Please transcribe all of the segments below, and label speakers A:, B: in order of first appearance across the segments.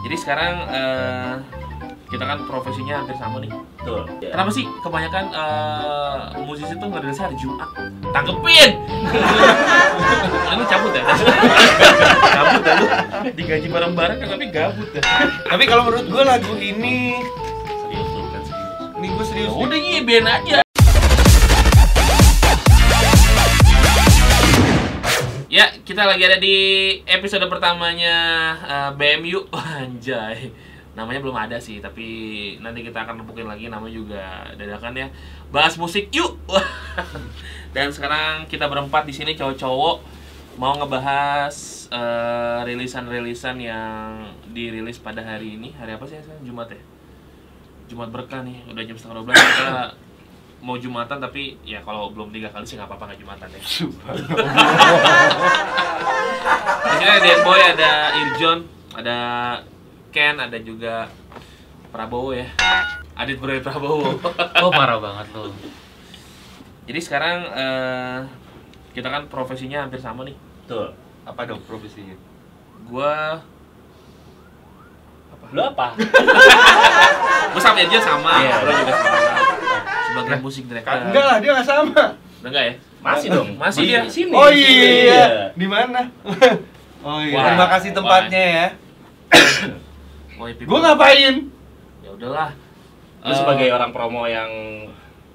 A: Jadi sekarang eh, kita kan profesinya hampir sama nih.
B: Betul. Ya.
A: Kenapa sih kebanyakan eh, musisi tuh ngerilisnya hari Jumat? Tanggepin! lu cabut ya? cabut dah lu. Digaji bareng-bareng kan tapi gabut ya.
C: Tapi kalau menurut gue lagu ini
B: Serius lu kan serius.
C: Nih gue serius nih.
A: Udah iya, biarin aja. Ya, kita lagi ada di episode pertamanya eh, BMU Anjay Namanya belum ada sih, tapi nanti kita akan rebukin lagi namanya juga dadakan ya Bahas musik yuk! Dan sekarang kita berempat di sini cowok-cowok Mau ngebahas eh, rilisan-rilisan yang dirilis pada hari ini Hari apa sih ya sekarang? Jumat ya? Jumat berkah nih, udah jam setengah 12 kita mau Jumatan tapi ya kalau belum tiga kali sih nggak apa-apa nggak Jumatan ya. Di sini ada Boy, ada Irjon, ada Ken, ada juga Prabowo ya. Adit Bro Prabowo.
D: Lo parah banget lo.
A: Jadi sekarang eh, kita kan profesinya hampir sama nih.
B: Betul.
C: Apa dong profesinya?
A: Gua
B: Lu apa?
A: gua sama Irjon sama,
B: Iya. Nah.
A: Bro juga sama. Sebagai musik director.
C: Enggak lah, dia nggak sama.
A: Udah enggak ya?
B: Masih dong.
A: Masih dia.
B: di sini.
C: Oh
B: di sini.
C: iya, di mana? Oh iya,
A: Wah,
C: terima kasih
A: wah.
C: tempatnya ya.
A: Boy People.
C: Gue ngapain?
A: Ya udahlah. Eh,
B: Lu sebagai orang promo yang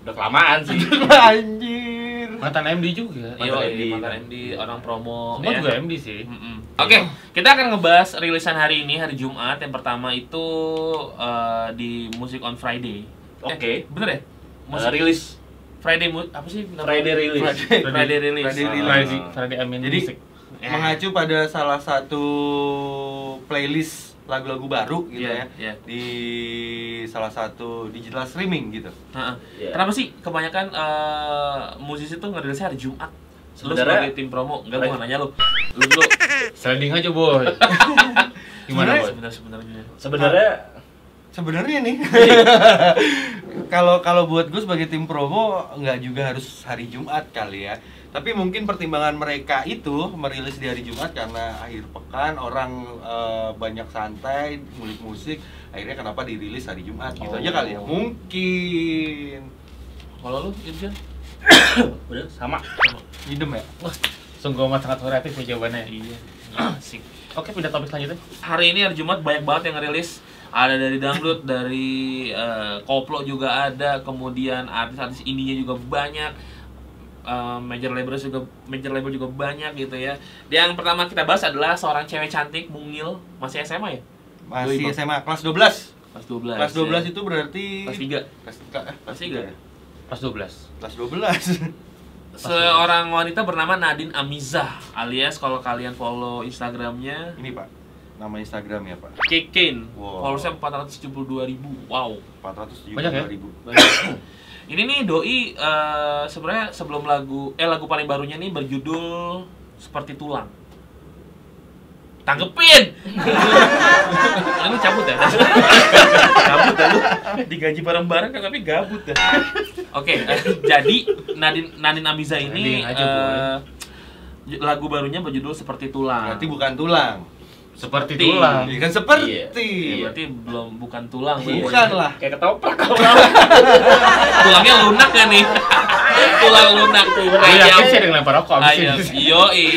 B: udah kelamaan sih.
C: Anjir.
D: Mantan MD juga.
A: Iya,
B: Mantan
A: MD,
B: MD.
A: mantan MD,
B: Eh,
A: orang promo.
D: Semua
A: ya.
D: juga MD sih.
A: Mm-mm. Oke, kita akan ngebahas rilisan hari ini hari Jumat. Yang pertama itu eh, di Music on Friday. Eh,
B: Oke.
A: bener ya?
B: Eh,
A: Musik
B: rilis
A: Friday mu- apa sih? nama-
B: Friday rilis.
C: Friday.
A: Friday rilis.
C: Friday
A: Ah.
C: rilis.
D: Friday, Friday Amin
C: Jadi,
D: Music.
A: Eh,
C: Mengacu pada salah satu playlist lagu-lagu baru gitu
A: Iya,
C: ya
A: iya.
C: di salah satu digital streaming gitu.
A: Ha-ha.
B: Iya.
A: Kenapa sih kebanyakan eh, musisi tuh ngerilisnya hari Jumat? Lu
B: Sebenarnya-
A: sebagai tim promo, enggak gua
B: Friday-
A: nggak nanya lu. Lu dulu
D: Sliding aja boy. Gimana boy?
A: sebenarnya sebenarnya.
B: Sebenarnya
C: Sebenarnya nih, kalau kalau buat gue sebagai tim promo nggak juga harus hari Jumat kali ya. Tapi mungkin pertimbangan mereka itu merilis di hari Jumat karena akhir pekan orang eh, banyak santai, ngulik musik, akhirnya kenapa dirilis hari Jumat gitu aja kali ya. Mungkin
A: Kalau lu Irjan?
B: udah sama.
C: idem ya.
D: Wah, sungguh amat sangat variatif ya jawabannya.
A: Iya. Asik.
D: Oke, pindah topik selanjutnya.
A: hari ini hari Jumat banyak banget yang ngerilis ada dari dangdut dari eh, koplo juga ada kemudian artis-artis indinya juga banyak Eh, major label juga major label juga banyak gitu ya yang pertama kita bahas adalah seorang cewek cantik mungil masih SMA ya
C: Masih
A: Doi, Bang.
C: SMA kelas 12.
A: kelas 12
C: Kelas 12
A: ya.
C: itu berarti
A: kelas 3
C: kelas eh,
A: Kelas
C: kelas
A: tiga. ya?
C: 3.
D: Pas 12.
C: Kelas 12.
A: seorang wanita bernama Nadine Amizah alias kalau kalian follow Instagramnya
C: Ini Pak. Nama Instagram ya Pak.
A: Kekin
C: Wow.
A: followersnya 472.000 wow
C: 472.000.
D: Banyak ya?
A: ini nih doi eh, sebenarnya sebelum lagu eh lagu paling barunya nih berjudul seperti tulang tanggepin lu cabut ya cabut ya lu digaji bareng-bareng kan tapi gabut ya oke eh, jadi Nadine Nadine Amiza ini
D: Nadine aja,
A: eh,
D: Boy.
A: j- lagu barunya berjudul seperti tulang
C: Berarti bukan tulang.
D: Seperti
A: Seperti.
D: tulang.
C: Iya kan seperti.
A: Ya,
B: Iya.
A: berarti belum bukan tulang ya.
C: Bukan
A: Boy.
C: lah.
B: Kayak ketoprak kalau
A: tulangnya lunak gak nih tulang lunak tuh
C: Iya,
D: Gue yakin sih ada yang lempar rokok abis
A: Ayo,
D: ini.
A: yoi.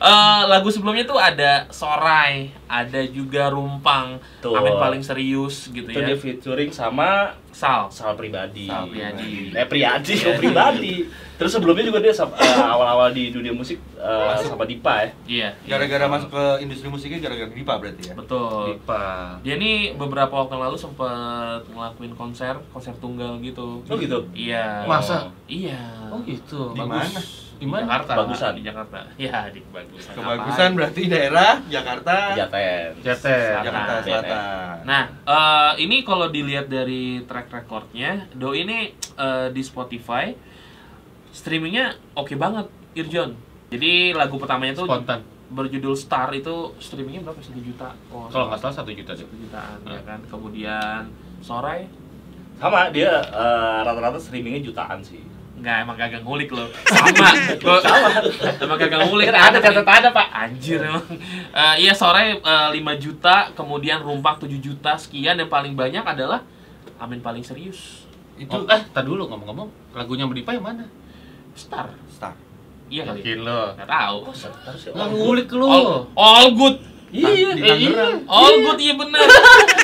A: Eh, lagu sebelumnya tuh ada Sorai, ada juga Rumpang,
B: Tuh.
A: Amin paling serius gitu
B: itu
A: ya.
B: dia featuring sama
A: Sal, Iya,
B: Sal pribadi.
C: Sal
A: Priyadi.
B: Eh Priyadi, kok pribadi. Terus sebelumnya juga dia sam- eh, awal-awal di dunia musik eh, sama Dipa ya.
A: Iya,
C: Gara-gara masuk ke industri musiknya gara-gara Dipa berarti ya.
A: betul.
D: Dipa.
A: Dia nih beberapa waktu lalu sempat ngelakuin konser, konser tunggal gitu.
B: Oh gitu.
A: Iya.
D: Masa?
A: Iya.
D: Oh gitu.
C: Di
D: bagus.
C: mana?
D: Di mana?
A: Jakarta.
B: Bagusan.
A: Di Jakarta. Iya, di Bagusan.
C: Kebagusan
A: Apaan?
C: berarti daerah Jakarta,
B: Kejaten.
D: Jatet.
C: Jakarta Iya.
B: Selatan.
C: Selatan.
A: Nah, eh, ini kalau dilihat dari track recordnya, Do ini eh, di Spotify streamingnya oke banget, Irjon. Jadi lagu pertamanya tuh
D: Spontan.
A: berjudul Star itu streamingnya berapa? Satu juta. Oh,
D: Kalau nggak Iya. salah 1 juta deh.
A: satu jutaan ya kan. Kemudian Sorai
B: Sama dia eh, rata-rata streamingnya jutaan sih.
A: nggak emang kagak ngulik lo sama lo emang kagak ngulik
D: Kan ada catat ada pak
A: Anjir emang. Eh, iya sore eh, 5 juta, kemudian rumpak 7 juta sekian dan paling banyak adalah Amin paling serius.
C: itu
D: itu eh tar dulu ngomong-ngomong lagunya Beripa yang mana
A: Star.
C: star
A: Iya kali.
D: Yakin lo
A: Nggak tahu.
B: Terus ya,
D: nggak
B: orang-
D: ngulik lo
A: All,
C: Oh.
A: all good.
B: Iya,
C: di
B: eh, iya.
C: Tangerang.
A: All good iya bener.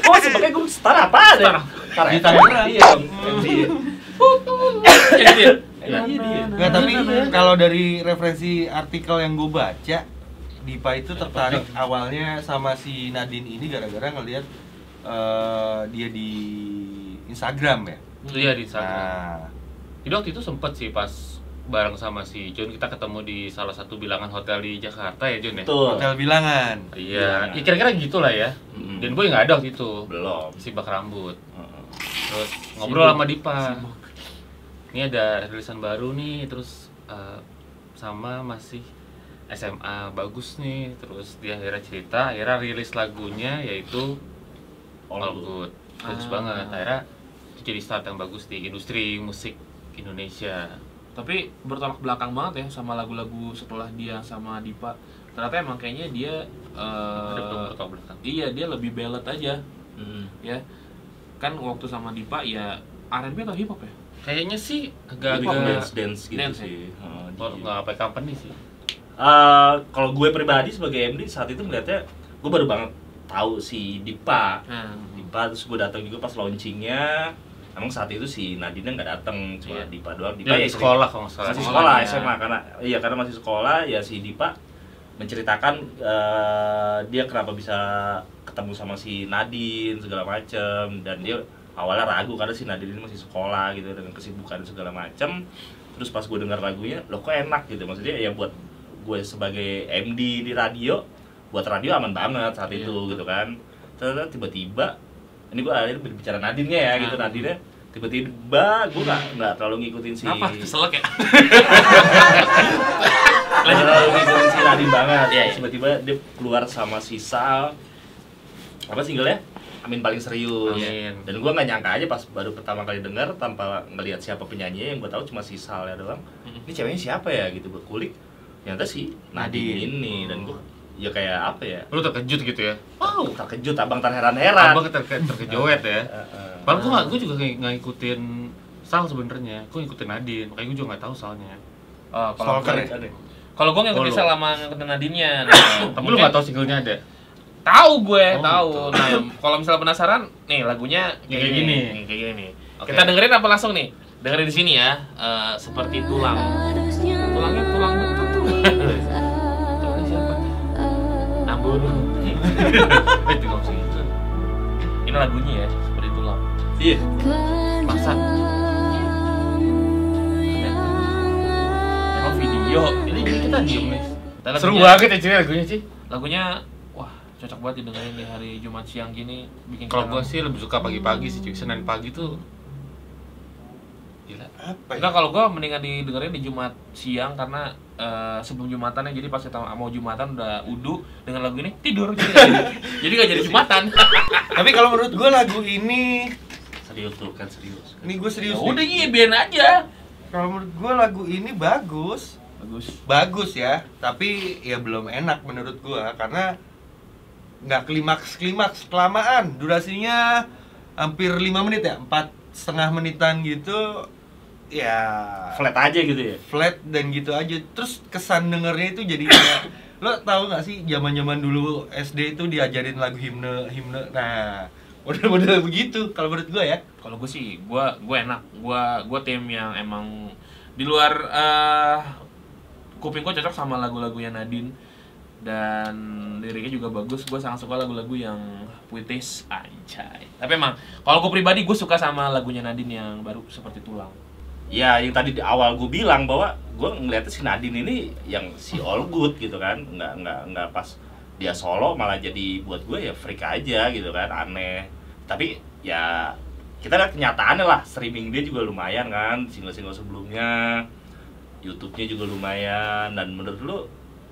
B: Oh, sebagai gue setara apa ada?
A: Setara.
B: Setara.
C: Di Tangerang.
B: Iya, dong. MC.
A: Ya gitu ya?
B: Iya, dia.
C: Nggak, tapi kalau dari referensi artikel yang gue baca Dipa itu tertarik awalnya sama si Nadine ini gara-gara ngelihat eh, dia di Instagram ya
D: iya di sana
C: nah
D: jadi waktu itu sempet sih pas bareng sama si John kita ketemu di salah satu bilangan hotel di Jakarta ya John ya
B: Betul.
C: hotel bilangan
D: iya ya, kira-kira gitulah ya
B: Mm.
D: dan boy nggak ada waktu itu
B: belum.
D: sibak rambut
B: Heeh.
D: terus ngobrol sama Dipa ini ada rilisan baru nih terus eh, sama masih SMA bagus nih terus dia akhirnya cerita akhirnya rilis lagunya yaitu
B: All
D: All
B: good.
D: Good bagus
A: Ah.
D: banget akhirnya itu jadi start yang bagus di industri musik Indonesia
A: Tapi bertolak belakang banget ya sama lagu-lagu setelah dia sama Dipa. Ternyata emang kayaknya dia eh,
D: ada belum bertolak belakang
A: Iya, dia lebih ballad aja
B: Hmm.
A: ya. Kan waktu sama Dipa ya R&B atau hip hop ya?
D: kayaknya sih
A: Hip hop
D: agak-agak
B: Dance dance gitu
A: Dance,
B: sih. Heeh,
D: Kalau
B: di-
D: nggak apa company sih
B: Eh, kalau gue pribadi sebagai MD saat itu melihatnya gue baru banget tahu si Dipa.
A: Nah,
B: Dipa terus gue datang juga pas launchingnya. Emang saat itu si Nadine nggak datang, cuma
D: Iya.
B: Dipa doang. Dipa
D: dia di
B: sering-
D: sekolah kalau nggak salah
B: masih
A: sekolah,
B: sekolah
A: ya.
B: SMA karena iya karena masih sekolah ya si Dipa menceritakan eh, dia kenapa bisa ketemu sama si Nadine segala macem dan dia awalnya ragu karena si Nadine ini masih sekolah gitu dengan kesibukan segala macem terus pas gue dengar lagunya loh kok enak gitu maksudnya ya buat gue sebagai MD di radio buat radio aman banget saat
A: Iya.
B: itu gitu kan terus tiba-tiba ini gue akhirnya berbicara Nadine ya gitu
A: Nah.
B: Nadine tiba-tiba gue nggak nggak terlalu ngikutin si
A: Kenapa? Keselak ya?
B: lanjut lalu ngikutin si Nadine banget ya tiba-tiba dia keluar sama si Sal apa singlenya Amin paling serius
D: Amin.
B: dan gua nggak nyangka aja pas baru pertama kali dengar tanpa ngelihat siapa penyanyinya yang gua tahu cuma si Sal ya doang ini ceweknya siapa ya gitu gue kulik ternyata si Nadine
C: Nadine.
B: ini dan gua ya kayak apa ya
D: lu terkejut gitu ya
B: wow terkejut abang terheran-heran
D: abang terke terkejoet ya
B: Heeh.
D: Padahal gue gak, gue juga kayak nggak ngikutin Sal sebenarnya, gue ngikutin Nadine, makanya gue juga nggak tahu Salnya.
A: Oh, kalau
C: Stalker
A: gue,
C: ya?
B: Ada.
A: kalau gue ngikutin
D: Follow.
A: selama ngikutin Nadine-nya.
D: Tapi lu nggak tahu singlenya ada.
A: Tahu gue,
D: Oh,
A: tahu.
D: gitu.
A: Nah, kalau misalnya penasaran, nih lagunya
D: Ya, kayak gini.
A: nih, kayak gini nih.
D: Oke.
A: Kita dengerin apa langsung nih? Dengerin di sini ya. Eh, seperti tulang. Tulangnya tulang betul tuh. Tulangnya siapa? Nambur.
D: Eh, itu nggak usah gitu.
A: Ini lagunya ya, seperti tulang.
B: iya
D: Masa?
A: Emang video.
D: Ini jadi kita diem nih.
A: Kita lagunya-
D: Seru banget ya ciri lagunya sih.
A: Lagunya wah, cocok banget didengerin di hari Jumat siang gini bikin
D: Kalau gue
A: kita-
D: sih lebih suka pagi-pagi sih, cuy. Senin pagi tuh gila.
C: apa ya?
A: Enggak kalau gua mendingan didengerin di Jumat siang karena eh, sebelum Jumatan ya jadi pas kita mau Jumatan udah udu dengan lagu ini tidur jadi nggak jadi- jadi nggak jadi Jumatan.
C: tapi kalau menurut gue lagu ini
B: serius tuh kan serius
C: ini gue serius
A: Ya
C: nih.
A: udah iya biarin aja.
C: kalau menurut gue lagu ini bagus
A: Bagus.
C: bagus ya tapi ya belum enak menurut gua karena nggak klimaks klimaks kelamaan durasinya hampir 5 menit ya empat setengah menitan gitu ya
B: flat aja gitu ya
C: flat dan gitu aja terus kesan dengernya itu jadi kayak lo tahu nggak sih zaman zaman dulu SD itu diajarin lagu himne himne nah model-model begitu kalau menurut gua ya
A: Kalau gue sih gua gua enak. Gua gua tim yang emang di luar eh, kuping gua cocok sama lagu-lagunya Nadine dan liriknya juga bagus. Gua sangat suka lagu-lagu yang puitis anjay. Tapi emang kalau gue pribadi gue suka sama lagunya Nadine yang baru seperti tulang.
B: ya yang tadi di awal gue bilang bahwa gue ngeliatnya si Nadine ini yang si all good gitu kan nggak nggak nggak pas dia solo malah jadi buat gue ya freak aja gitu kan aneh tapi ya kita lihat kenyataannya lah streaming dia juga lumayan kan single-single sebelumnya YouTube-nya juga lumayan dan menurut lu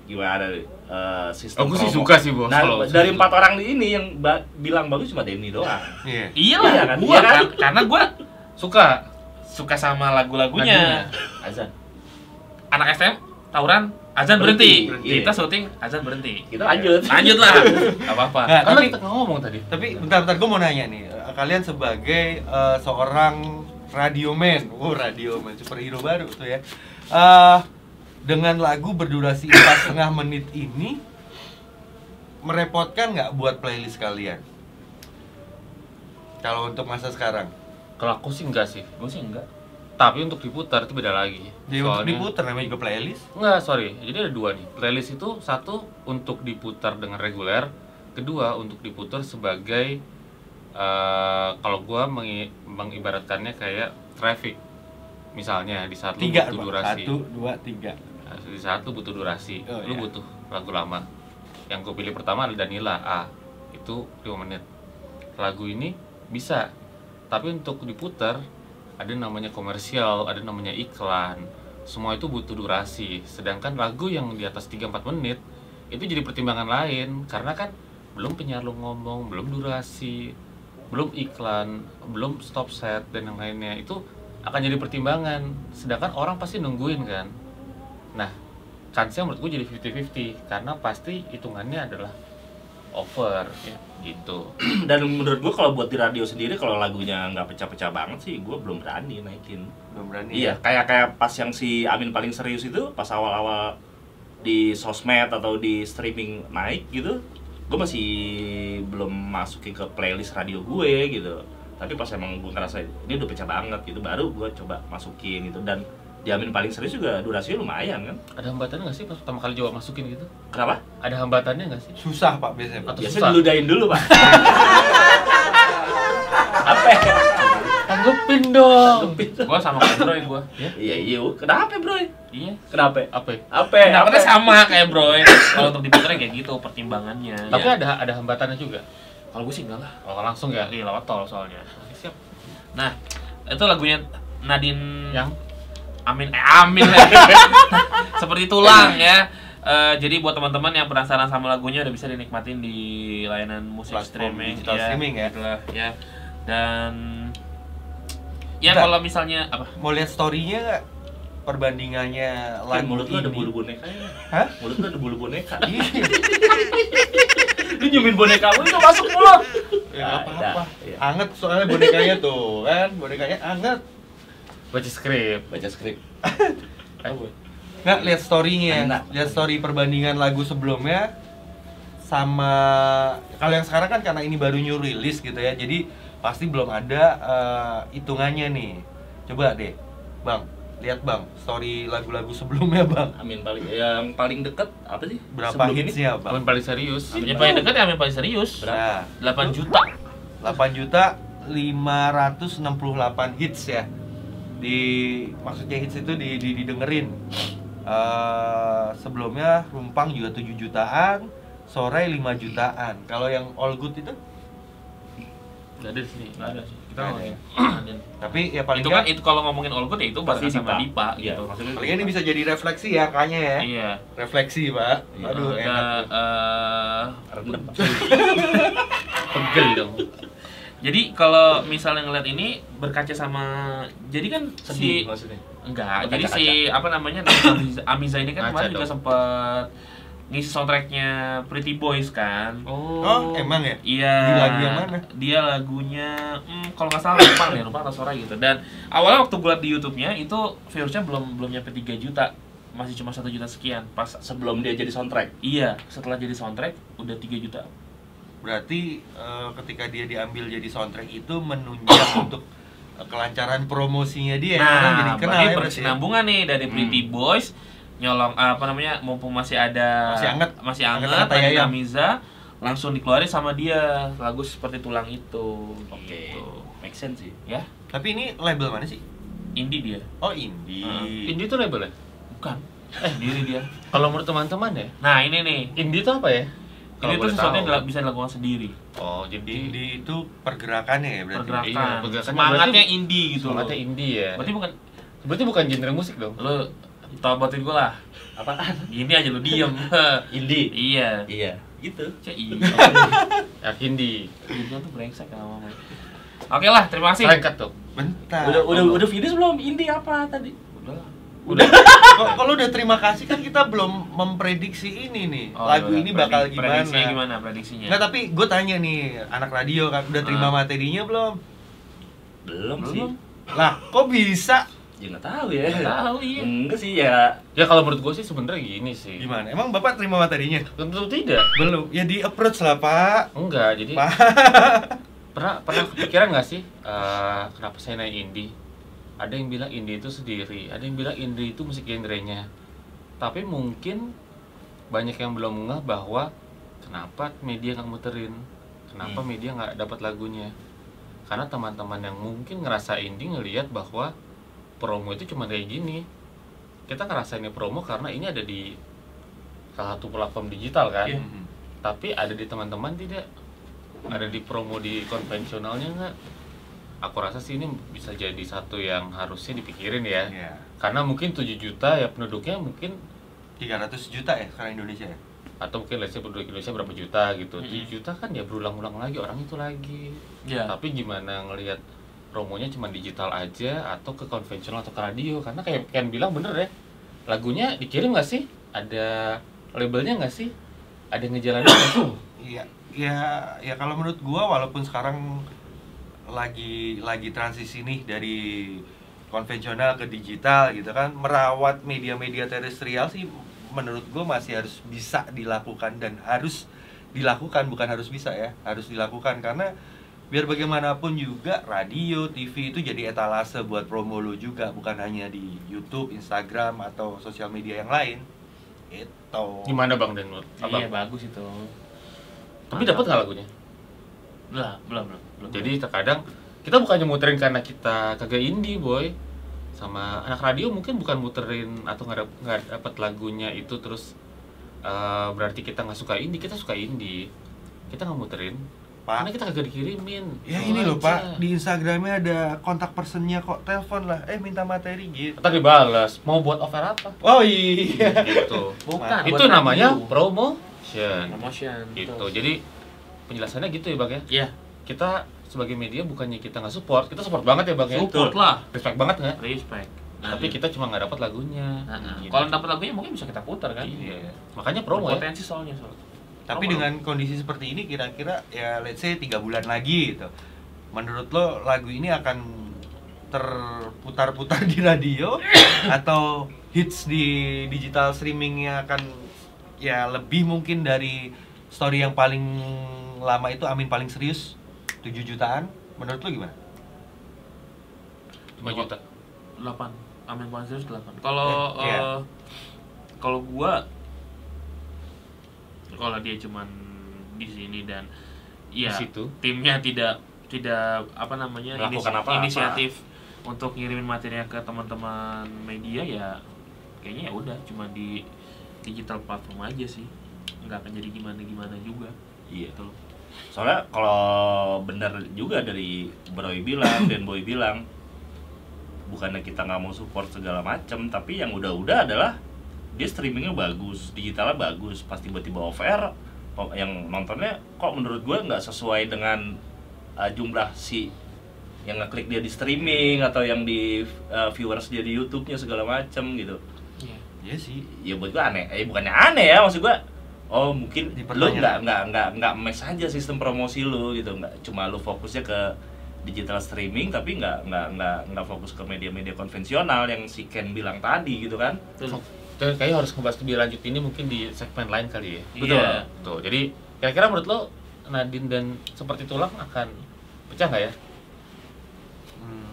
B: gimana eh, sistem
D: Oh, gue sih
B: promo?
D: suka sih, Bos,
B: Nah,
D: kalau- gitu.
B: dari empat orang ini yang ba- bilang bagus cuma Denny doang
C: iya
A: Iya lah,
B: Iya kan?
A: gua
B: Iya kan?
A: kan? karena gua
D: Suka.
A: suka sama lagu-lagunya.
B: azan
A: Anak SM tawuran azan berhenti.
B: Berhenti.
A: Kita syuting azan berhenti.
B: kita lanjut
A: Lanjut lah. Gak apa-apa.
C: Nggak,
D: Kan
C: tapi
D: kita ngomong tadi.
C: tapi bentar-bentar gue mau nanya nih eh, kalian sebagai eh, seorang radioman, oh radioman superhero baru tuh ya. Eh, dengan lagu berdurasi empat setengah menit ini merepotkan nggak buat playlist kalian? Kalau untuk masa sekarang,
D: Kalau aku sih enggak sih.
B: gue sih enggak
D: Tapi untuk diputar itu beda lagi.
C: jadi untuk diputer namanya juga playlist.
D: Enggak, sorry. Jadi ada dua nih. Playlist itu satu untuk diputar dengan reguler, kedua untuk diputar sebagai eh, kalau gua mengi- mengibaratkannya kayak traffic. Misalnya di saat lu
C: Tiga,
D: butuh
C: Bang.
D: durasi.
C: satu, dua, tiga.
D: Nah, Di saat lu butuh durasi,
C: Oh,
D: lu
C: iya.
D: butuh lagu lama. Yang gue pilih pertama adalah Danila A. Itu 5 menit. Lagu ini bisa, tapi untuk diputar ada namanya komersial, ada namanya iklan. Semua itu butuh durasi. Sedangkan lagu yang di atas 3-4 menit itu jadi pertimbangan lain karena kan belum penyiar lu ngomong, belum durasi, belum iklan, belum stop set dan yang lainnya itu akan jadi pertimbangan. Sedangkan orang pasti nungguin kan. Nah, kansnya menurut gue jadi 50-50 karena pasti hitungannya adalah over gitu.
B: dan menurut gue kalau buat di radio sendiri kalau lagunya nggak pecah-pecah banget sih gue belum berani naikin
C: Belum berani. ya?
B: Iya, kayak kayak pas yang si Amin paling serius itu pas awal-awal di sosmed atau di streaming naik gitu, gue masih belum masukin ke playlist radio gue gitu. Tapi pas emang gue ngerasa ini udah pecah banget gitu, baru gue coba masukin gitu dan di Amin paling serius juga durasinya lumayan kan.
D: Ada hambatannya nggak sih pas pertama kali jawab masukin gitu?
B: Kenapa?
D: Ada hambatannya nggak sih?
C: Susah pak biasanya. Pak.
D: Atau
B: Biasanya
D: susah?
B: diludahin dulu pak. Apa? ya?
D: Tanggepin dong.
A: Gua sama kayak Broy gua.
B: Iya iya, kenapa bro?
A: Iya.
B: Kenapa?
D: Apa? ya?
B: Apa?
A: Pendapatnya sama kayak Broy. Kalau untuk diputarnya kayak gitu pertimbangannya.
D: Tapi
A: Ya.
D: ada ada hambatannya juga.
A: Kalau gue sih enggak lah.
D: Oh, langsung ya.
A: Iya, lewat tol soalnya.
D: Siap.
A: Nah, itu lagunya Nadine
D: Yang
A: Amin, eh, amin lagi. Seperti tulang ya. Eh, jadi buat teman-teman yang penasaran sama lagunya udah bisa dinikmatin di layanan musik
C: Platform
A: streaming,
C: digital streaming ya.
A: gitu lah, ya. Dan ya
C: Bentar.
A: kalau misalnya apa?
C: Mau lihat storynya nggak? Perbandingannya
B: Kan
C: lagu
B: mulut lu ada
C: ini.
B: bulu boneka ya?
C: Hah?
B: Mulut lu ada bulu boneka.
C: Iya.
B: Lu nyumin boneka lu itu masuk mulut.
C: Ya nggak apa-apa.
B: Ada, iya.
C: Anget soalnya bonekanya tuh kan, bonekanya anget.
D: baca skrip.
B: Baca skrip.
C: Nggak lihat storynya,
B: Enak.
C: lihat story perbandingan lagu sebelumnya sama kalau yang sekarang kan karena ini baru new release gitu ya, jadi pasti belum ada eh, hitungannya nih. Coba deh, bang, lihat bang, story lagu-lagu sebelumnya bang,
B: Amin paling yang paling deket apa sih?
C: berapa ya?
B: Sebelum ini?
C: hitsnya
D: Amin
C: bang?
D: paling serius.
A: Yang paling dekat ya yang paling serius.
B: Berapa?
C: Nah,
A: 8 juta.
C: 8 juta 568 hits ya di maksudnya hits itu di, di- didengerin Eh, sebelumnya rumpang juga 7 jutaan sore 5 jutaan kalau yang all good itu
D: Gak ada di sini.
A: Nggak ada sih. Kita
C: Nggak ada
A: ngomongin. Nadine.
C: tapi ya paling
A: itu kan
C: nggak-
A: itu kalau ngomongin all good ya itu bahasa sama Dipa
B: Iya,
A: gitu.
B: maksudnya
C: paling nggak ini bisa jadi refleksi ya kayaknya ya
A: Iya.
C: refleksi pak aduh
A: Nah,
C: enak
A: eh,
B: rendem.
D: Pegel dong.
A: Jadi kalau misalnya ngeliat ini berkaca sama jadi kan si
B: Sedih maksudnya.
A: Enggak,
B: Berkaca-kaca.
A: jadi si apa namanya Amiza, Amiza ini kan
D: Ngaca
A: kemarin juga
D: dong.
A: sempet ngisi soundtracknya Pretty Boys kan.
C: oh emang ya
A: Iya.
C: Di lagu yang mana?
A: Dia lagunya hmm, kalau nggak salah lupa ya, lupa atau sore gitu. Dan awalnya waktu gue liat di YouTube-nya itu viewsnya belum belum nyampe 3 juta, masih cuma satu juta sekian. Pas
B: Sebelum dia jadi soundtrack.
A: iya, setelah jadi soundtrack udah 3 juta.
C: berarti eh, ketika dia diambil jadi soundtrack itu menunjang untuk eh, kelancaran promosinya dia Iya, Orang
A: nah,
C: jadi kenal
A: berarti
C: ya, berarti ya.
A: berkesinambungan nih dari Pretty Boys nyolong eh, apa namanya mumpung masih ada
C: Masih anget.
A: masih
C: Anget
A: anget,
C: anget
A: tadi
C: ayam.
A: Namiza langsung dikeluarin sama dia lagu seperti tulang itu
B: Oke.
A: gitu.
B: Make sense sih.
A: ya
C: Tapi ini label mana sih?
A: indie dia
C: Oh indie.
A: Ah,
D: Indie itu label ya?
A: bukan eh diri dia
D: Kalau menurut teman-teman ya,
A: nah ini nih
D: indie itu apa ya? Kalau
A: ini tuh
D: boleh
A: sesuatu yang
D: tahu.
A: dilak- bisa dilakukan sendiri
D: Oh, jadi
C: Indie itu pergerakannya ya berarti.
A: pergerakan
D: iya, pergerakannya
A: semangatnya
D: berarti-
A: indie gitu loh
D: Semangatnya indie ya.
A: berarti bukan
D: Berarti bukan genre musik dong.
A: lo tobatin gue lah
B: Apaan?
A: gini aja lo diem
B: Indie.
A: iya
B: Iya, gitu.
A: Cek iya
D: Ya indie.
A: Dia tuh brengsek sama mamanya. kan Oke lah, terima kasih.
D: Singkat tuh.
C: Bentar.
B: Udah udah udah finish belum? Indie apa tadi?
A: Udah lah.
D: Udah.
C: Kok kalau udah terima kasih kan kita belum memprediksi ini nih.
A: Oh,
C: lagu
A: udah.
C: ini bakal
A: Predi-
C: gimana?
A: Prediksinya gimana ya? prediksinya?
C: Nggak, tapi gue tanya nih, anak radio kan udah terima
A: Ah.
C: materinya belum?
B: Belum,
A: Belum.
B: sih.
C: Lah, kok bisa?
B: Ya nggak tahu ya.
A: Nggak tahu, iya.
B: Enggak sih ya.
D: Ya kalau menurut gue sih sebenarnya gini sih.
C: Gimana? Emang Bapak terima materinya?
D: Tentu tidak.
C: Belum. Ya di approach lah, Pak.
D: Enggak, jadi
C: Pak.
D: pernah pernah kepikiran nggak sih eh, kenapa saya naik indie? Ada yang bilang indie itu sendiri, ada yang bilang indie itu musik genrenya. Tapi mungkin banyak yang belum ngeh bahwa kenapa media nggak muterin, kenapa
B: Hmm.
D: media nggak dapat lagunya. Karena teman-teman yang mungkin ngerasa indie ngelihat bahwa promo itu cuma kayak gini. Kita ngerasainnya promo karena ini ada di salah satu platform digital kan
B: Iya.
C: Hmm,
D: tapi ada di teman-teman tidak ada di promo di konvensionalnya nggak aku rasa sih ini bisa jadi satu yang harusnya dipikirin ya
C: Iya.
D: karena mungkin 7 juta ya penduduknya mungkin
C: 300 juta ya sekarang Indonesia ya?
D: atau mungkin let's say penduduk Indonesia berapa juta gitu
A: Mm-mm.
D: 7 juta kan ya berulang-ulang lagi orang itu lagi
A: Iya.
D: tapi gimana ngelihat promonya cuma digital aja atau ke konvensional atau ke radio karena kayak kan bilang bener ya lagunya dikirim nggak sih ada labelnya nggak sih ada yang ngejalanin nggak sih?
A: Oh.
C: Iya, ya, ya kalau menurut gua walaupun sekarang lagi lagi transisi nih dari konvensional ke digital gitu kan, merawat media-media terestrial sih menurut gua masih harus bisa dilakukan dan harus dilakukan bukan harus bisa ya, harus dilakukan karena biar bagaimanapun juga radio, TV itu jadi etalase buat promo lu juga bukan hanya di YouTube, Instagram atau sosial media yang lain. Gitu, Itu.
D: gimana bang dan menurut abang?
A: Iya, bagus itu.
D: Tapi dapat nggak lagunya?
A: Lah, belum, belum, belum.
D: Jadi terkadang kita bukannya muterin karena kita kagak indie boy sama anak radio mungkin bukan muterin atau nggak dap- nggak dapat lagunya itu terus eh, berarti kita nggak suka indie kita suka indie kita nggak muterin
C: Pak.
D: karena kita kagak dikirimin
C: Ya
D: Tahu
C: ini loh
D: aja.
C: pak, di Instagramnya ada kontak personnya kok, telepon lah, eh minta materi gitu
D: ntar dibales mau buat offer apa
C: Oh iya
D: gitu
A: bukan.
D: itu
A: buat
D: namanya
A: radio.
D: promotion
A: promotion.
D: gitu jadi penjelasannya gitu ya bang ya
A: Iya,
D: kita sebagai media bukannya kita nggak support kita support banget ya bang ya
A: support lah.
D: respect banget nggak
A: Respect.
D: tapi kita cuma nggak dapat lagunya
A: Nah, nah.
D: Gitu.
A: kalau dapat lagunya mungkin bisa kita putar kan?
D: iya makanya promo ya
A: Potensi soalnya soalnya.
C: Tapi
A: Promo.
C: dengan kondisi seperti ini kira-kira ya let's say 3 bulan lagi gitu Menurut lo lagu ini akan terputar-putar di radio Atau hits di digital streamingnya akan ya lebih mungkin dari story yang paling lama itu Amin paling serius 7 jutaan Menurut lo gimana?
D: lima juta
A: 8 Amin Paling Serius 8 kalau
C: Eh,
A: eh,
C: iya.
A: kalau gua kalau dia cuman di sini dan ya
D: Di situ.
A: timnya tidak tidak apa namanya
B: Melakukan
A: inisi-
B: apa-apa.
A: inisiatif untuk ngirimin materinya ke teman-teman media ya kayaknya ya udah cuma di digital platform aja sih nggak akan jadi gimana gimana juga
B: Iya.
A: gitu loh
B: Soalnya kalau bener juga dari Broy bilang dan Boy bilang bukannya kita nggak mau support segala macem tapi yang udah-udah adalah dia streamingnya bagus, digitalnya bagus, pas tiba-tiba off air kok yang nontonnya kok menurut gua nggak sesuai dengan uh, jumlah si yang ngeklik dia di streaming atau yang di uh, viewers dia di YouTube-nya segala macem gitu.
A: Iya.
C: Iya sih
B: ya buat gua aneh eh bukannya aneh ya maksud gua oh mungkin lu
C: Dipertanyakan.
B: nggak nggak nggak nggak mes aja sistem promosi lu gitu nggak cuma lu fokusnya ke digital streaming tapi nggak nggak nggak nggak fokus ke media-media konvensional yang si Ken bilang tadi gitu kan
A: Betul.
D: Kita kayaknya harus ngebahas lebih lanjut ini mungkin di segmen lain kali ya
A: Betul.
D: Iya. tuh jadi kira-kira menurut lo Nadine dan seperti tulang akan pecah nggak ya
C: Hmm.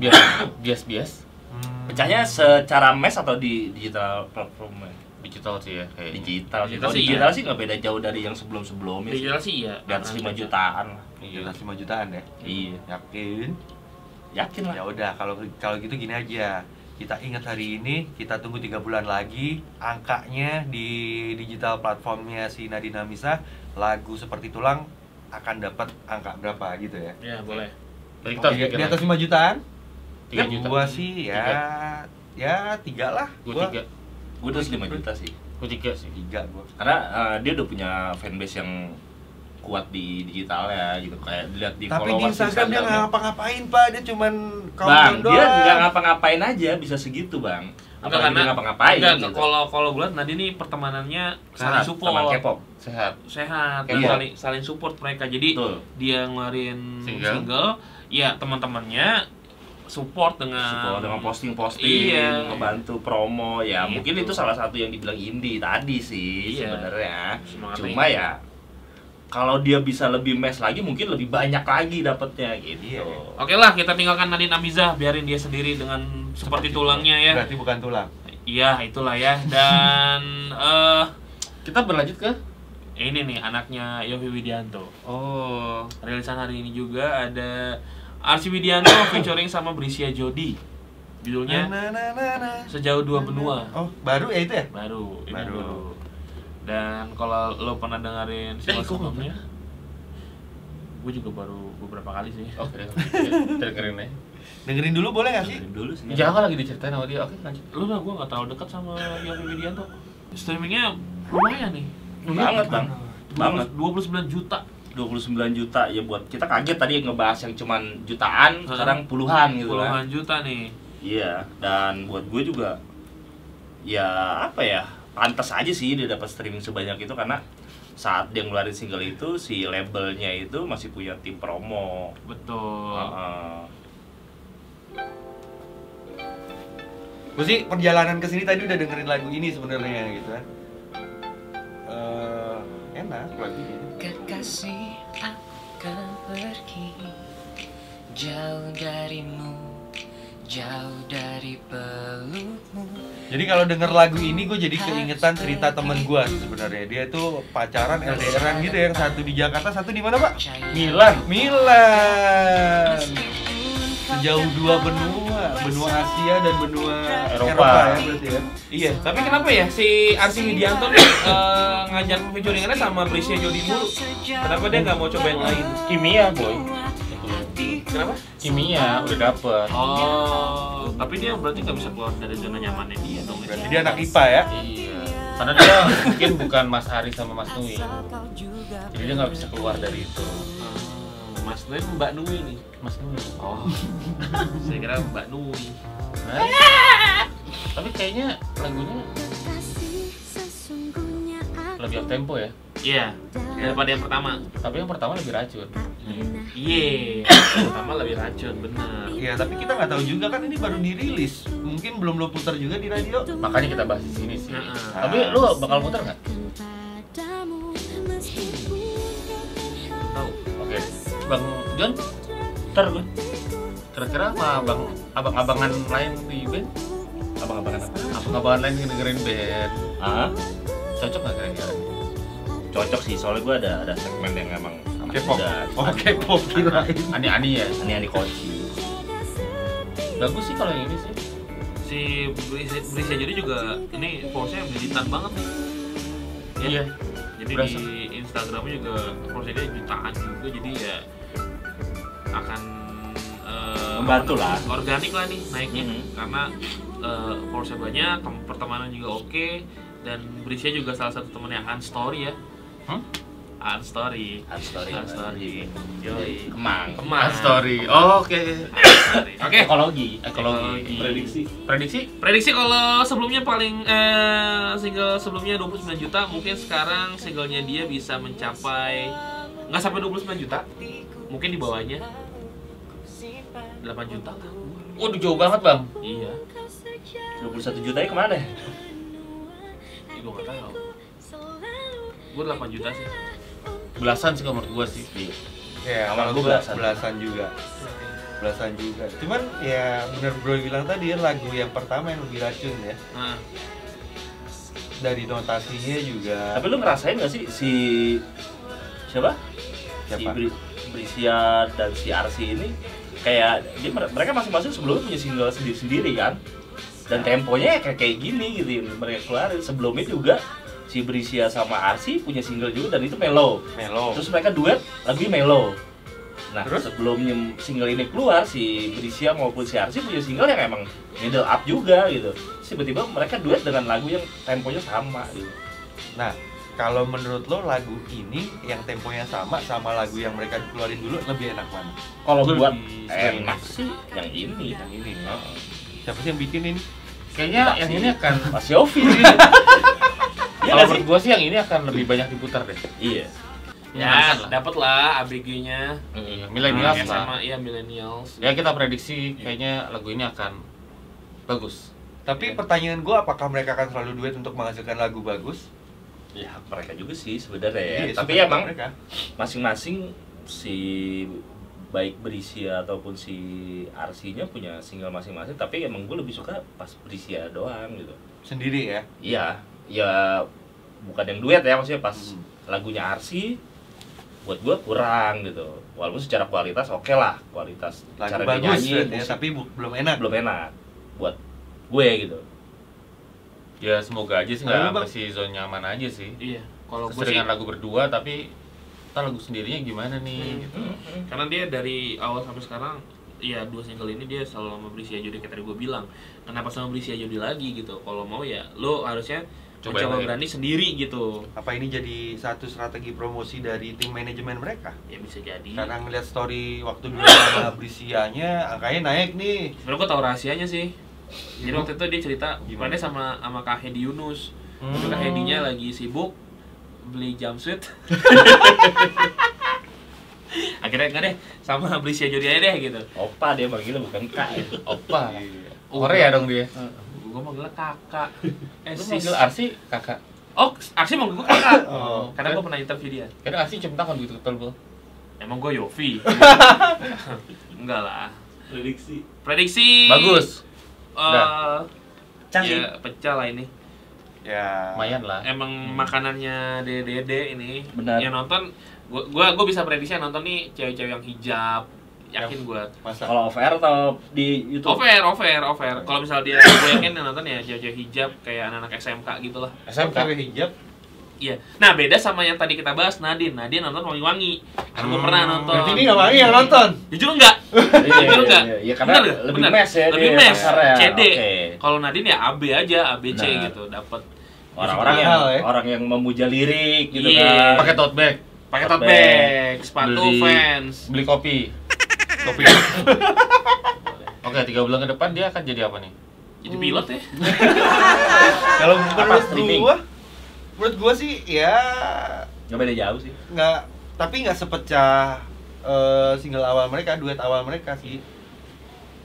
D: bias bias bias
C: Hmm.
B: pecahnya secara mes atau di digital platform Eh,
D: digital sih ya kayaknya
B: digital sih
A: Digital
B: Kalau
A: sih,
B: digital
A: iya.
B: sih nggak beda jauh dari yang sebelum sebelumnya
A: digital sih ya
B: Iya di atas 5 jutaan lah
C: Di
D: Iya.
C: atas 5 jutaan ya?
B: iya
C: Yakin?
B: yakin
C: Ya
B: lah
C: udah kalau kalau gitu gini aja. Kita ingat hari ini, kita tunggu tiga bulan lagi angkanya di digital platformnya si Nadina Misa lagu seperti tulang akan dapat angka berapa gitu ya.
A: ya boleh
D: Jadi kita harus
C: Oke,
D: bikin
C: di atas
D: lagi.
C: 5 jutaan? Ya,
D: tiga juta
C: Gua sih ya
D: Tiga.
C: ya tiga lah.
D: gue
C: Gua
D: tiga
B: gua udah 5 juta sih
D: gue tiga sih
C: tiga gua.
B: karena eh, dia udah punya fanbase yang kuat di digitalnya gitu kayak dilihat di
C: Tapi di
B: followers
C: Instagram dia nggak ngapa-ngapain pak, dia cuman
B: Bang,
C: countdown
B: dia nggak
C: doang.
B: ngapa-ngapain aja bisa segitu bang.
A: Enggak
B: Apalagi
A: karena
B: dia ngapa-ngapain.
A: enggak,
B: gitu.
A: kalau kalau gue liat Nadine nih pertemanannya saling
B: Nah,
D: Sehat, teman
A: support,
D: K-pop Sehat
A: sehat, dan
D: Iya.
A: saling saling support mereka. Jadi
B: Betul.
A: dia ngeluarin single,
D: Single.
A: ya teman-temannya support dengan
B: Support dengan posting-posting,
A: Nah, Iya.
B: ngebantu promo ya.
A: Gitu.
B: Mungkin itu salah satu yang dibilang indie tadi sih
A: Iya.
B: sebenarnya.
A: Semangat
B: Cuma
A: tinggi.
B: ya kalau dia bisa lebih mes lagi mungkin lebih banyak lagi dapatnya gitu.
C: Iya.
A: Oke lah, kita tinggalkan Nadine Amizah, biarin dia sendiri dengan seperti tulangnya ya.
C: Berarti bukan tulang.
A: Iya, itulah ya. Dan eh
D: Kita berlanjut ke
A: ini nih anaknya Yofi Widianto.
D: Oh
A: Rilisan hari ini juga ada Arsi Widianto featuring sama Brisia Jodi. Judulnya
C: Na, na, na, na.
A: Sejauh Dua Benua.
C: Oh, baru ya itu ya?
A: Baru, ini
C: Baru.
A: baru. Dan kalau lo pernah dengerin single
D: Eh, gua nggak
A: sebelumnya, gue juga baru beberapa kali sih.
D: Oke Dengerin aja
C: Dengerin dulu boleh nggak sih?
B: Dulu sih.
A: Iya.
D: Jangan Iya. lagi diceritain sama dia Oke lanjut
A: Lu lah gue gak terlalu dekat sama Yofi Widianto. Streamingnya lumayan nih.
B: Banget bang. Banget.
A: 29 juta.
B: 29 juta ya buat kita kaget tadi ngebahas yang cuman jutaan
A: Hmm.
B: sekarang puluhan gitu kan.
A: Puluhan juta nih.
B: Iya, dan buat gue juga ya apa ya? Pantas aja sih dia dapat streaming sebanyak itu karena saat dia ngeluarin single itu si labelnya itu masih punya tim promo.
A: Betul.
B: Ah. Heeh.
C: Gue sih perjalanan ke sini tadi udah dengerin lagu ini sebenarnya gitu kan. Eh, enak lagunya.
E: Kekasih akan pergi Jauh darimu Jauh dari pelukmu
C: Jadi kalau denger lagu ini gue jadi keingetan cerita temen gue sebenarnya. Dia tuh pacaran LDRan gitu yang satu di Jakarta, satu di mana pak?
D: Milan
C: Milan. Sejauh dua benua, benua Asia dan benua Eropa,
B: Eropa
C: ya berarti ya.
A: Iya, tapi kenapa ya si Arsi Widianto nih eh, ngajak featuringannya sama Prisya Jodi mulu? Kenapa dia nggak mau coba yang lain?
D: Kimia boy
A: Kenapa?
D: Kimia udah dapet
A: Oh, tapi dia berarti nggak bisa keluar dari zona nyamannya dia dong. ya?
C: Berarti dia anak IPA ya.
D: Iya Karena dia mungkin bukan Mas Ari sama Mas Nui Jadi dia nggak bisa keluar dari itu
A: Ah, Mas Nui Mbak Nui nih.
D: Mas Nui
A: Oh, saya kira Mbak Nui.
D: Nah, Tapi kayaknya lagunya lebih up tempo ya
A: Iya, daripada yang pertama.
D: Tapi yang pertama lebih racun
A: Iya, yang pertama lebih racun bener.
C: Iya, tapi kita nggak tahu juga kan ini baru dirilis. Mungkin belum lo putar juga di radio.
D: Makanya kita bahas di sini sih
A: Heeh.
D: Tapi lu bakal muter nggak?
A: Tahu?
D: Oke, Bang John, ntar gue. Kira-kira sama abang abang-abangan lain di band,
B: Abang-abangan apa?
D: abang-abangan lain yang dengerin band,
B: Ah,
D: cocok nggak kira-kira?
B: cocok sih soalnya gue ada ada segmen yang emang anak
C: K-pop.
B: muda.
C: Oh, K-pop kirain.
D: Ani-ani ya,
B: Ini yang dikunci.
D: bagus sih kalau yang ini sih.
A: Si Brisa, Brisa Jodi juga ini force-nya militan banget nih. Ya.
D: Iya.
A: jadi
D: Berasa.
A: di Instagramnya juga followersnya dia jutaan juga jadi ya akan eh,
B: Membantu lah.
A: organik lah nih naiknya
B: Mhm.
A: karena eh, followersnya banyak tem- pertemanan juga oke dan Brisnya juga salah satu temennya Unstory ya
D: Hmm?
A: Unstory
B: Art story.
A: Art story.
B: Yoi. Kemang.
A: Kemang
D: Story. Oh, Oke.
A: Unstory. oke
B: Ekologi.
A: Ekologi.
B: Prediksi.
D: Prediksi?
A: prediksi kalau sebelumnya paling eh, single sebelumnya 29 juta mungkin sekarang singlenya dia bisa mencapai nggak sampai 29 juta mungkin di bawahnya 8 juta lah.
D: Waduh jauh banget bang.
A: Iya,
B: 21 juta kemana? ya?
A: gue gak tahu. Gue 8 juta sih.
D: Belasan sih kalau menurut gua sih.
C: Ya,
B: Sama
C: kalau
B: gua
C: gua belasan.
B: belasan.
C: juga. Belasan juga. Cuman ya bener bro bilang tadi ya, lagu yang pertama yang lebih racun ya.
B: Hmm.
A: Nah,
C: Dari notasinya juga.
B: Tapi lu ngerasain gak sih si siapa? Si
C: Siapa?
B: Bri- Brisia dan si Arsi ini kayak dia mer- mereka masing-masing sebelumnya punya single sendiri-sendiri kan. Dan temponya ya kayak kayak gini gitu yang mereka keluarin sebelumnya juga si Brisia sama Arsi punya single juga dan itu mellow.
C: Melo.
B: Terus mereka duet lagunya mellow. Nah,
C: Terus?
B: sebelumnya single ini keluar si Brisia maupun si Arsi punya single yang emang middle up juga gitu. Terus Tiba-tiba mereka duet dengan lagu yang temponya sama gitu.
C: Nah, Kalau menurut lo lagu ini yang temponya sama sama lagu yang mereka keluarin dulu lebih enak mana?
B: Kalau
D: Lebih
B: buat
D: sering.
B: Hmm, enak sih yang ini.
C: Yang ini.
B: Heeh.
C: Siapa sih yang bikin ini?
D: Kayaknya
B: Pasti.
D: yang ini akan
B: Mas Yofi.
C: Iya
B: Iya
D: kalau
B: nggak sih?
D: menurut gua sih yang ini akan lebih banyak diputar deh.
B: Iya.
A: Ya,
D: Menyenangkan lah.
A: dapat lah ABG-nya.
D: Iya, milenials
A: Nah,
D: lah.
A: Sama iya millennials.
D: Ya kita prediksi kayaknya lagu ini akan bagus.
B: Iya.
C: Tapi pertanyaan gue apakah mereka akan selalu duet untuk menghasilkan lagu bagus?
B: Ya hak mereka juga sih sebenarnya ya.
C: Iya,
B: Tapi
C: suka
B: emang
C: mereka.
B: masing-masing si baik Berisia ataupun si Arsinya punya single masing-masing tapi emang gue lebih suka pas Berisia doang gitu
C: sendiri ya.
B: iya ya bukan yang duet ya maksudnya pas
C: Hmm.
B: lagunya Arsi buat gue kurang gitu walaupun secara kualitas oke lah kualitas
C: Lagu
B: cara dia
C: bagus
B: nyanyi,
C: berarti ya,
B: musik
C: tapi bu- belum enak.
B: Nah, belum enak buat gue gitu
D: Ya semoga aja sih
C: Lalu,
D: nggak
C: Bang?
D: masih zona nyaman aja sih.
A: Iya, kalau gue sih
D: Keseringan lagu berdua tapi kita lagu sendirinya gimana nih gitu.
A: karena dia dari awal sampai sekarang ya dua single ini dia selalu sama Brisia Jodi kayak tadi gue bilang kenapa sama Brisia Jodi lagi gitu kalau mau ya lo harusnya mencoba
D: Coba yang lain.
A: berani sendiri gitu
C: Apa ini jadi satu strategi promosi dari tim manajemen mereka?
A: ya bisa jadi
C: Karena ngeliat story waktu dulu sama Brisianya, angkanya naik nih.
A: sebenarnya gue tahu rahasianya sih jadi waktu itu dia cerita
C: Gimana?
A: gimana sama sama Kak Hedi Yunus
D: Hmm.
A: Tapi Kak Hedinya lagi sibuk beli jumpsuit akhirnya enggak deh sama Brisia Jodi aja deh gitu
B: opa dia manggilnya bukan kak ya.
D: Hmm. Opa.
C: Iya.
D: Korea dong dia.
A: gue manggil kakak eh
D: Lu
A: sis.
D: manggil Arsi kakak.
A: oh Arsi manggil gue kakak
C: Oh,
A: karena
D: kan.
A: gue pernah interview dia
D: Karena Arsi cium tangan gitu betul Bang.
A: Emang gue Yofi? Enggak lah.
B: prediksi
A: Prediksi.
D: Bagus.
A: Eh,
B: Cang
C: Iya.
B: sih.
A: ya, pecah lah ini.
C: Ya.
D: Lumayan lah.
A: Emang makanannya dede-dede ini.
B: Benar.
A: Yang nonton, gua gua, gua bisa prediksi yang nonton nih cewek-cewek yang hijab. Yakin gua. Oh,
C: Masa
B: kalau off air atau di YouTube
A: Over, over, over. Kalau misal dia, gue yakin yang nonton ya cewek-cewek hijab kayak anak-anak SMK gitu lah.
D: SMK.
C: cewek hijab
A: Iya. Nah beda sama yang tadi kita bahas Nadine. Nadine nonton wangi-wangi. Karena gua
D: Hmm.
A: pernah nonton.
C: Berarti ini nggak wangi ya? yang nonton.
A: Jujur enggak?
B: Iya, iya,
A: Bener nggak?
B: iya, iya, karena
A: Bener nggak?
B: lebih
A: Bener.
B: mes ya
A: Lebih
B: dia
A: mes,
B: pasarnya.
A: CD.
B: Oke.
A: Kalau Nadine ya AB aja, ABC
B: Benar.
A: gitu, dapat
B: orang-orang yang
C: mahal ya.
B: orang yang memuja lirik gitu
A: Iya.
B: kan
D: Pakai tote bag,
A: pakai
B: Tote
A: tote bag, sepatu
D: Beli-
A: fans.
D: beli kopi.
C: Kopi.
D: Oke, tiga bulan ke depan dia akan jadi apa nih?
A: Jadi
B: Hmm.
A: pilot ya.
C: Kalau menurut
B: streaming?
C: gua, menurut gua sih ya
B: nggak beda jauh sih
C: nggak tapi nggak sepecah eh, single awal mereka, duet awal mereka sih.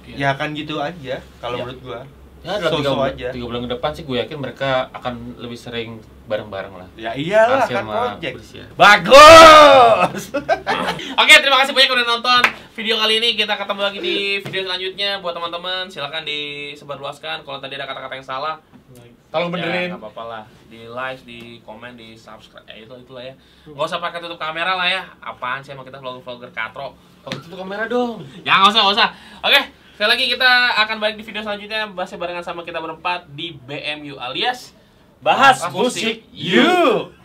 C: Ya akan gitu aja kalau
B: Iya.
C: menurut gua.
D: Ya, dalam tiga,
C: So-so
D: bulan,
C: aja.
D: tiga bulan ke depan sih gue yakin mereka akan lebih sering bareng-bareng lah.
C: Ya iyalah
D: Arsi
C: kan
D: sama
C: project.
D: Bersia.
B: bagus
A: Oke, terima kasih banyak udah nonton video kali ini. Kita ketemu lagi di video selanjutnya buat teman-teman. Silakan disebarluaskan kalau tadi ada kata-kata yang salah.
D: Tolong
A: Ya,
D: benerin.
A: nggak apa-apa lah. Di like, di komen, di subscribe. Eh, itu itulah ya. Nggak usah pakai tutup kamera lah ya. Apaan sih emang kita vlogger-vlogger katro.
D: Pakai tutup kamera dong.
A: Ya nggak usah, nggak usah. Oke, sekali lagi kita akan balik di video selanjutnya bahasnya barengan sama kita berempat di BMU alias
B: bahas
A: Bahas musik.
B: musik you